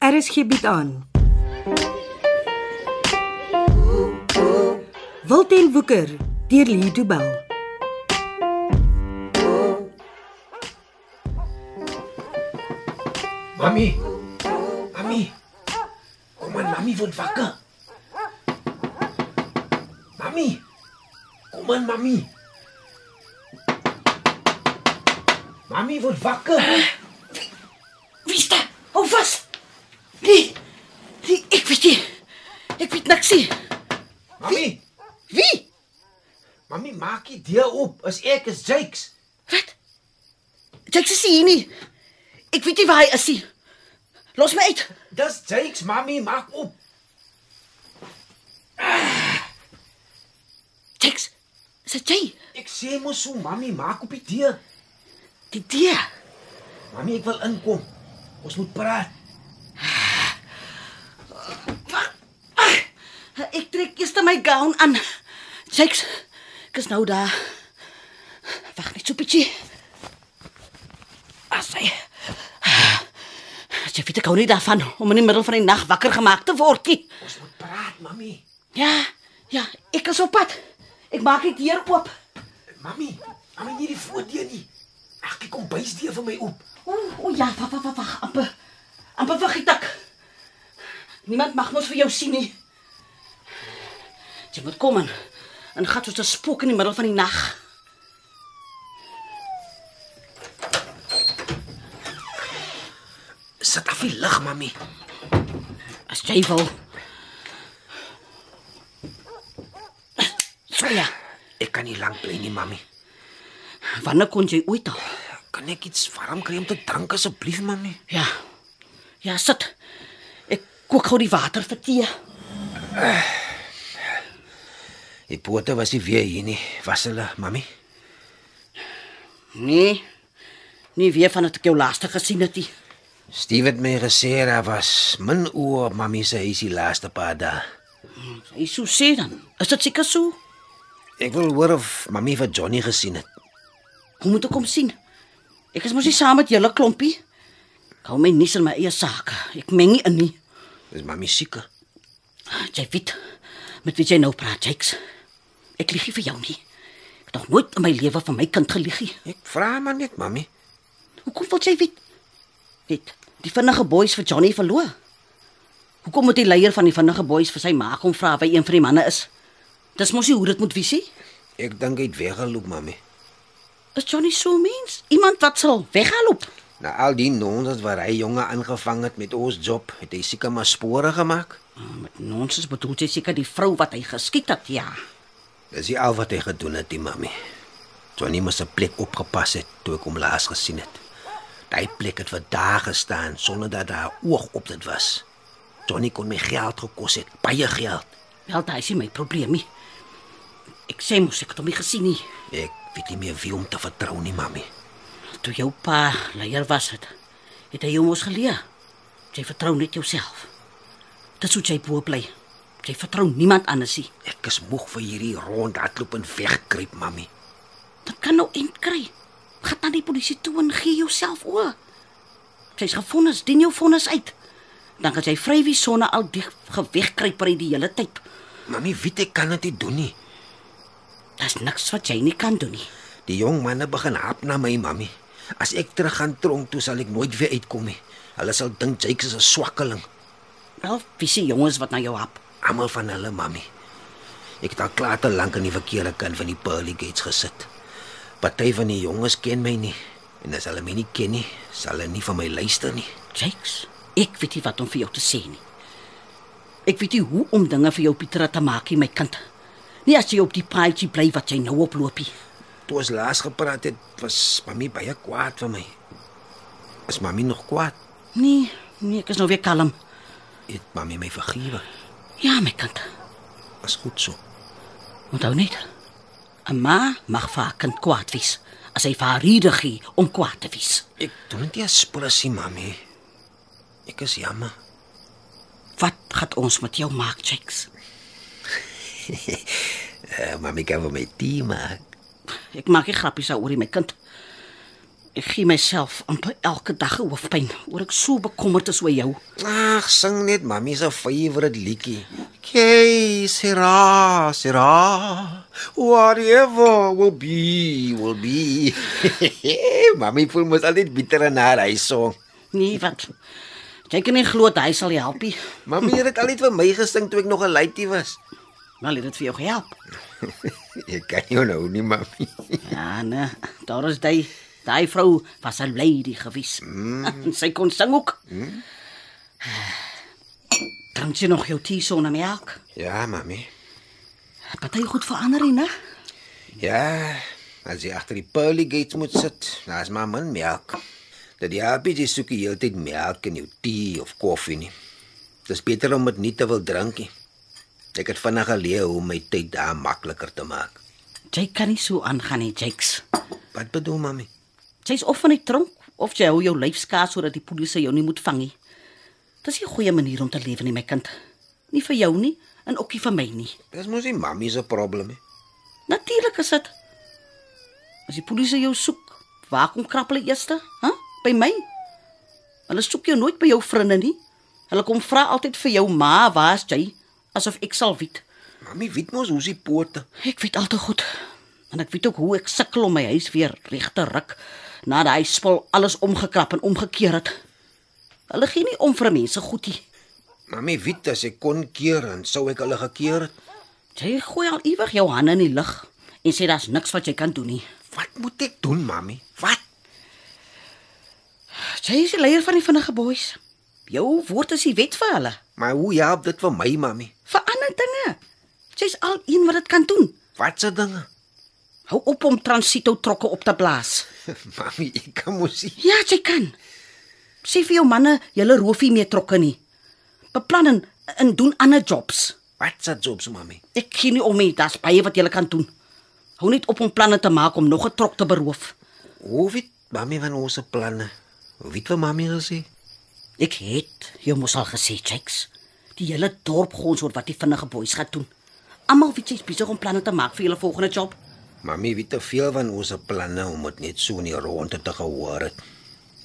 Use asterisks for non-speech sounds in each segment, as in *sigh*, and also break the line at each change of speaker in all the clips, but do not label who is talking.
RSG bied Er aan. Wilten Woeker deur Lee Du Bell.
Mami. Mami. Kom aan, mami word wakker. Mami. Kom aan, mami. Mami word wakker.
Wista, hou vas. Oh, Nee. Nee, ek weet nie. Ek weet niks nie.
Mami.
Wie?
Mami maak die deur oop. Is ek is Jakes.
Wat? Jax is hier nie. Ek weet nie waar hy is nie. Los my uit.
Dis Jakes, mami, maak oop.
Jax. Sê jy,
Ek sê mos so, mami, maak op die deur.
die dier.
Mami, ek wil inkom. Ons moet praat.
Ek trek eers my gown aan. Jax, ek is nou daar. Wag net so 'n bietjie. Asai. Jy weet ek hou nie daarvan om in die middel van die nag wakker gemaak te word nie.
Ons moet praat, mami.
Ja, ja, ek is op pad. Ek maak die deur oop.
Mami, mami nie die voordeur nie. Ag, ek kom bysdeur vir my oop.
O, o ja, wag, wag, wag, wag, amper. Amper wag ek. Niemand mag mos vir jou sien nie. Jy moet kom aan. En gat soos 'n spook in die middel van die nag.
Sit af die lig, mami.
As jy wil. So ja,
Ek kan nie lank bly nie, mami.
wanneer kon jy ooit al?
Kan ek iets warm kry om te drink asseblief, mami?
Ja. Ja, sit. Ek kook gou die water vir tee.
Die pote was nie weer hier nie. Was hulle, mami?
Nee. Nie weer van dat ek jou laaste gesien het nie.
Steve het my gesê daar was min oë op mami se huis die laaste paar dae.
Hy sou sê dan. Is dit seker so?
Ek wil hoor of mami vir Johnny gesien het.
Hoe moet ek hom sien? Ek is mos nie saam met julle klompie. Ek hou my nie in my eie sake. Ek meng nie in nie.
Is mami sieker?
Jy weet met wie jy nou praat, Jakes. Ek lieg nie vir jou nie. Ek het nog nooit in my lewe van my kind gelieg nie.
Ek vra maar net, mami.
Hoekom wil jy weet? Net die vinnige boeis vir Johnny verloor. Hoekom moet die leier van die vinnige boeis vir sy ma kom vra wie een van die manne is? Dis mos nie hoe dit moet wees nie.
Ek dink hy het weggeloop, mami.
Is Johnny so 'n mens? Iemand wat sal weghaloop?
Na al die nonsens wat hy jonge aangevang het met ons job, het hy seker maar spore gemaak.
Met nonsens bedoel jy seker die vrou wat hy geskiet het, ja.
Dis nie al wat hy gedoen het nie, mami. Johnny moes 'n plek opgepas het toe ek hom laas gesien het. Daai plek het vir dae gestaan sonder dat daar oog op dit was. Johnny kon my geld gekos het, baie geld.
Wel, daai is nie my probleem nie. Ek sê mos ek het hom nie gesien nie.
Ek weet nie meer wie om te vertrou nie, mami.
Toe jou pa leier was dit. Het hy jou mos geleer. Jy vertrou net jouself. Dis hoe jy bo bly. Jy vertrou niemand anders nie.
Ek is moeg vir hierdie rond hardloop en wegkruip, mami.
Dit kan nou eind kry. Gaan dan die polisie toe en gee jouself oor. Jy's gefonnis, dien jou vonnis uit. Dan kan jy vry wie sonne al die gewegkruipery die hele tyd.
Mami weet ek kan dit nie doen nie.
Daar's niks wat jy nie kan doen nie.
Die jong manne begin hap na my, mami. As ek terug gaan tronk toe sal ek nooit weer uitkom nie. Hulle sal dink Jakes is 'n swakkeling.
Wel, wie se jongens wat na jou hap?
Almal van hulle, mami. Ek het al klaar te lank aan die verkeerde kant van die pearly gates gesit. Party van die jonges ken my nie en as hulle my nie ken nie, sal hulle nie van my luister nie.
Jakes, ek weet nie wat om vir jou te sê nie. Ek weet nie hoe om dinge vir jou Pieter te maak nie, my kind. Nie as jy op die paadjie bly wat jy nou oploop nie.
Toe ons laas gepraat het, was mami baie kwaad vir my. Is mami nog kwaad?
Nee, nee, ek is nou weer kalm.
Het mami my vergewe?
Ja, my kind.
Was goed so.
Onthou net. 'n Ma mag vir haar kind kwaad wees as hy vir haar rede gee om kwaad te wees.
Ek doen dit nie as spoelie, mami. Ek is jammer.
Wat gaan ons met jou maak, Jakes?
Eh, mami kan vir my tee maak.
Ek maak nie grappies daaroor nie, my kind. Ek gee myself amper elke dag 'n hoofpyn oor ek so bekommerd is oor jou.
Ag, sing net mami se favourite liedjie. Kay, sera, sera. Whatever will be, will be. *laughs* mami voel mos altyd bitter na haar hy song.
Nee, wat? Jy kan nie glo dat hy sal jou help nie.
Mami het dit altyd vir my gesing toe ek nog 'n laaitie was. *laughs*
Wel, het dit vir jou *laughs* gehelp.
Ek kan jou nou nie, mami.
Ja, nee, daar is daai daai vrou was 'n lady gewees. *laughs* Mm. Sy kon sing ook. Mm. Drink jy nog jou tee sonder melk?
*laughs* Ja, mami.
Party goed vir ander en, hè?
Ja, as jy agter die pearly gates moet sit, dan is maar min melk. Dat die happy soek die hele tyd melk in jou tee of koffie nie. Dis beter om dit nie te wil drink nie. Ek het vinnig geleer hoe my tyd daar makliker te maak.
Jake kan nie so aangaan nie, Jakes.
Wat bedoel mami?
Jy's of van die tronk of jy hou jou lyf skaars sodat die polisie jou nie moet vang nie. Dis nie 'n goeie manier om te lewe nie, my kind. Nie vir jou nie en ook nie vir my nie.
Dis mos nie mami se probleem nie.
Natuurlik is dit. As die polisie jou soek, waar kom krap hulle eers? Hæ? By my. Hulle soek jou nooit by jou vriende nie. Hulle kom vra altyd vir jou ma, waar's jy? Asof ek sal weet.
Mami weet mos hoe se poorte.
Ek weet al te goed. En ek weet ook hoe ek sukkel om my huis weer reg te ruk nadat hy spul alles omgekrap en omgekeer het. Hulle gee nie om vir mense goedie.
Mami weet as ek kon keer en sou ek hulle gekeer het.
Jy gooi al ewig jou hande in die lug en sê daar's niks wat jy kan doen nie.
Wat moet ek doen, mami? Wat?
Jy is die leier van die vinnige boeis. Jou woord is die wet vir hulle.
Maar hoe help dit vir my, mami?
Vir ander dinge. Jy's al een wat dit kan doen.
Wat se dinge? *laughs*
Hou op om transito trokke op te blaas.
mami, ek kan mos nie.
Ja, jy kan. Sê vir jou manne, julle roof nie meer trokke nie. Beplan en, en doen ander jobs.
Wat se jobs, mami?
Ek gee nie om nie, daar's baie wat jy kan doen. Hou net op om planne te maak om nog 'n trok te beroof.
Hoe weet mami van ons planne? Weet wat mami gesê?
Ek het jou mos al gesê, Jakes. Die hele dorp gons oor wat die vinnige boeis gaan doen. Almal weet jy's besig om planne te maak vir julle volgende job.
Mami weet te veel van ons planne om dit net so in die ronde te gehoor het.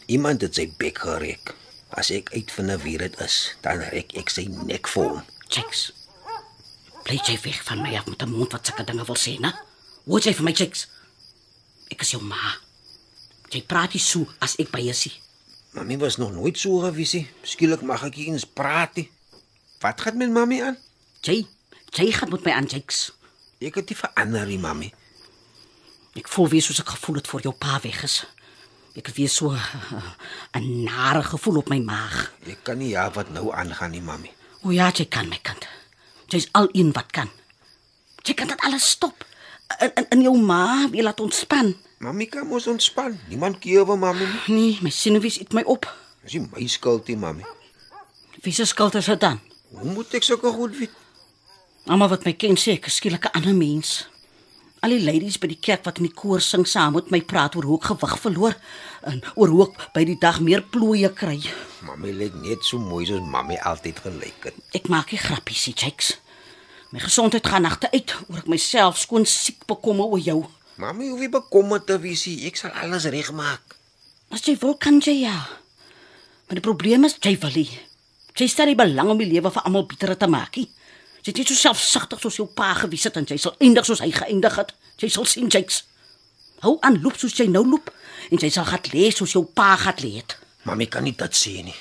Iemand het sy bek gerek. As ek uitvind wie dit is, dan rek ek sy nek vir hom.
Jakes. Bly jy weg van my af met 'n mond wat sulke dinge wil sê, né? Hoor jy vir my, Jakes? Ek is jou ma. Jy praat nie so as ek by jou is. nie.
Mami was nog nooit so gewees nie. Skielik mag ek eens praat. nie. Wat gaan met mami aan?
Jy, jy gaan met my aan, Jakes.
Ek het nie verander nie, mami.
Ek voel weer soos ek gevoel het voor jou pa weg is. Ek het weer so *laughs* 'n nare gevoel op my maag.
Ek kan nie ja wat nou aangaan nie, mami.
O ja, jy kan my kind. Jy's al een wat kan. Jy kan dit alles stop. In in, in jou ma, jy laat ontspan.
Mami kan mos ontspan. Niemand keer vir mami nie.
Nee, my senuwees eet my op.
Dis nie my skuld nie, mami.
Wie se skuld is dit dan?
Hoe moet ek sulke goed weet?
Almal wat my ken sê ek is skielik 'n ander mens. Al die ladies by die kerk wat in die koor sing saam met my praat oor hoe ek gewig verloor en oor hoe ek by die dag meer plooie kry.
Mami lyk net so mooi soos mami altyd gelyk het.
Ek maak nie grappies nie, Jakes. My gesondheid gaan agteruit oor ek myself skoon siek bekommer oor jou.
Mami hoef nie bekommerd te wees nie. Ek sal alles regmaak.
As jy wil kan jy ja. Maar die probleem is jy wil nie. Jy stel nie belang om die lewe vir almal beter te maak nie. Jy is net so selfsugtig soos jou pa gewees het en jy sal eindig soos hy geëindig het. Jy sal sien jy's. Hou aan loop soos jy nou loop en jy sal gaan lê soos jou pa gaan lê het.
Mami kan nie dit sê nie.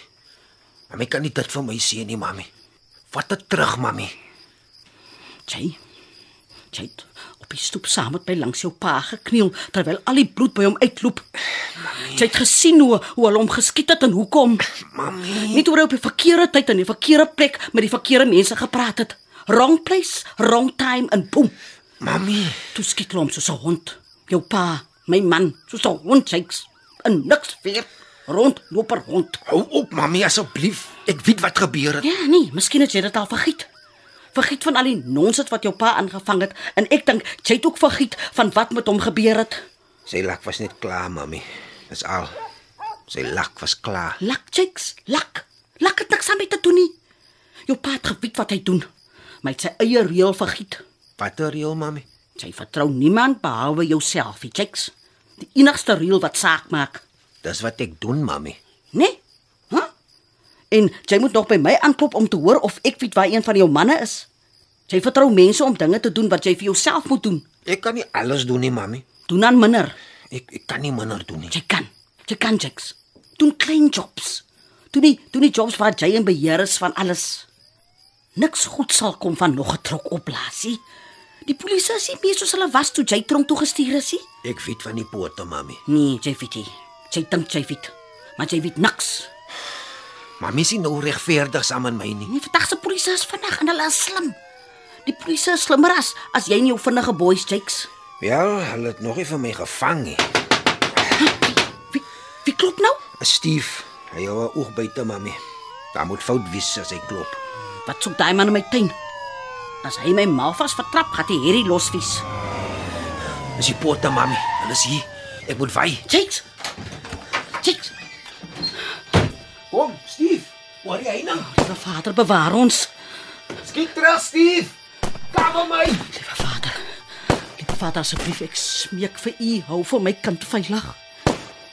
Mami kan nie dit vir my sê nie, mami. Vat dit terug, mami.
Jy jy het op die stoep saam met my langs jou pa gekniel terwyl al die bloed by hom uitloop. Jy het gesien hoe hoe hulle hom geskiet het en hoekom.
Mami,
Nie toe hy op die verkeerde tyd en die verkeerde plek met die verkeerde mense gepraat het. Wrong place, wrong time en boem.
mami.
Toe skiet hulle hom soos 'n hond. Jou pa, my man, soos 'n hond jyks. En niks weer rondloper hond.
Hou op, mami asseblief. Ek weet wat gebeur het.
Ja, nee, miskien het jy dit al vergiet. Vergiet van al die nonsens wat jou pa aangevang het en ek dink jy het ook vergiet van wat met hom gebeur het.
Sy lak was net klaar, mami. Dis al. Sy lak was klaar.
Lak jyks, lak. Lak het niks aan my te doen nie. Jou pa het geweet wat hy doen. Maar hy het sy eie reël vergiet.
Watter reël, mami?
Jy vertrou niemand behalwe jouself, Jakes. Die enigste reël wat saak maak,
Dis wat ek doen, mami.
né? Nee? Hæ? En jy moet nog by my aanklop om te hoor of ek weet waar een van jou manne is. Jy vertrou mense om dinge te doen wat jy vir jouself moet doen.
Ek kan nie alles doen nie, mami.
Doen aan minder.
Ek ek kan nie minder doen nie.
Jy kan. Jy kan jeks. Doen klein jobs. Doen nie doen nie jobs waar jy in beheer is van alles. Niks goed sal kom van nog 'n trok oplaasie. Die polisie is nie meer soos hulle was toe jy tronk toe gestuur is nie.
Ek weet van die poorte, mami.
Nee, jy weet nie. Jy dink jy weet, maar jy weet niks.
Mami sien nou regverdig saam met my nie.
Nee, vandag se polisie is vinnig en hulle is slim. Die polisie is slimmer as as jy en jou vinnige boys jeks.
Wel, hulle het nog nie vir my gevang nie.
Wie wie klop nou?
Stief, hy hou 'n oog buite, mami. Daar moet fout wees as hy klop.
Wat soek daai man in my tuin? As hy my malvas vertrap, gaan hy hierdie losvies.
Dis die poorte, mami. Hulle is hier. Ek moet wy.
Jakes. Jakes,
Kom, Stief. Waar is hy nou?
liewe Vader, bewaar ons.
Skiet terug, Stief. Kom op my.
Liewe Vader. Liewe Vader, asseblief, ek smeek vir U, hou vir my kind veilig.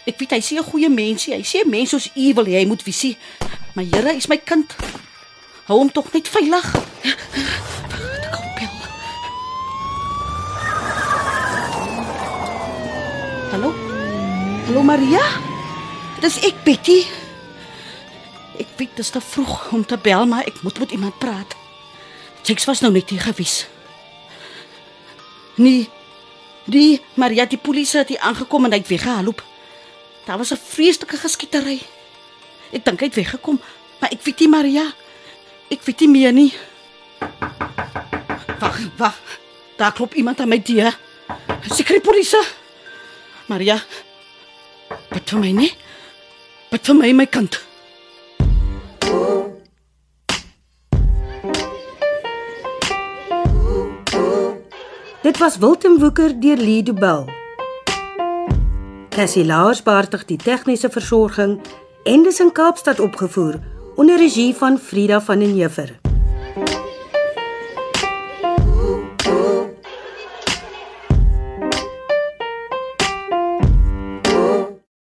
Ek weet hy sê 'n goeie mensie, hy sê mense soos U wil hê hy moet visie. Maar Here, hy is my kind. Hou hom tog net veilig. Vader, kom bel. Hallo? Hallo Maria? Dis ek, Betty. Ek weet dit is te vroeg om te bel, maar ek moet met iemand praat. Jakes was nou net hier gewees. Nee. Die Maria die polisie het hier aangekom en hy het weggehaloop. Daar was 'n vreeslike geskietery. Ek dink hy het weggekom, maar ek weet nie Maria. Ek weet nie meer nie. Wag, wag. Daar klop iemand aan my deur. Seker die polisie. Maria. Bid vir my, nee. Bid vir my my kind.
Dit was Wilten Woeker deur Lido Bell. Cassie Lars beheer die tegniese versorging en dit is in Kaapstad opgevoer onder regie van Frida van den Heever.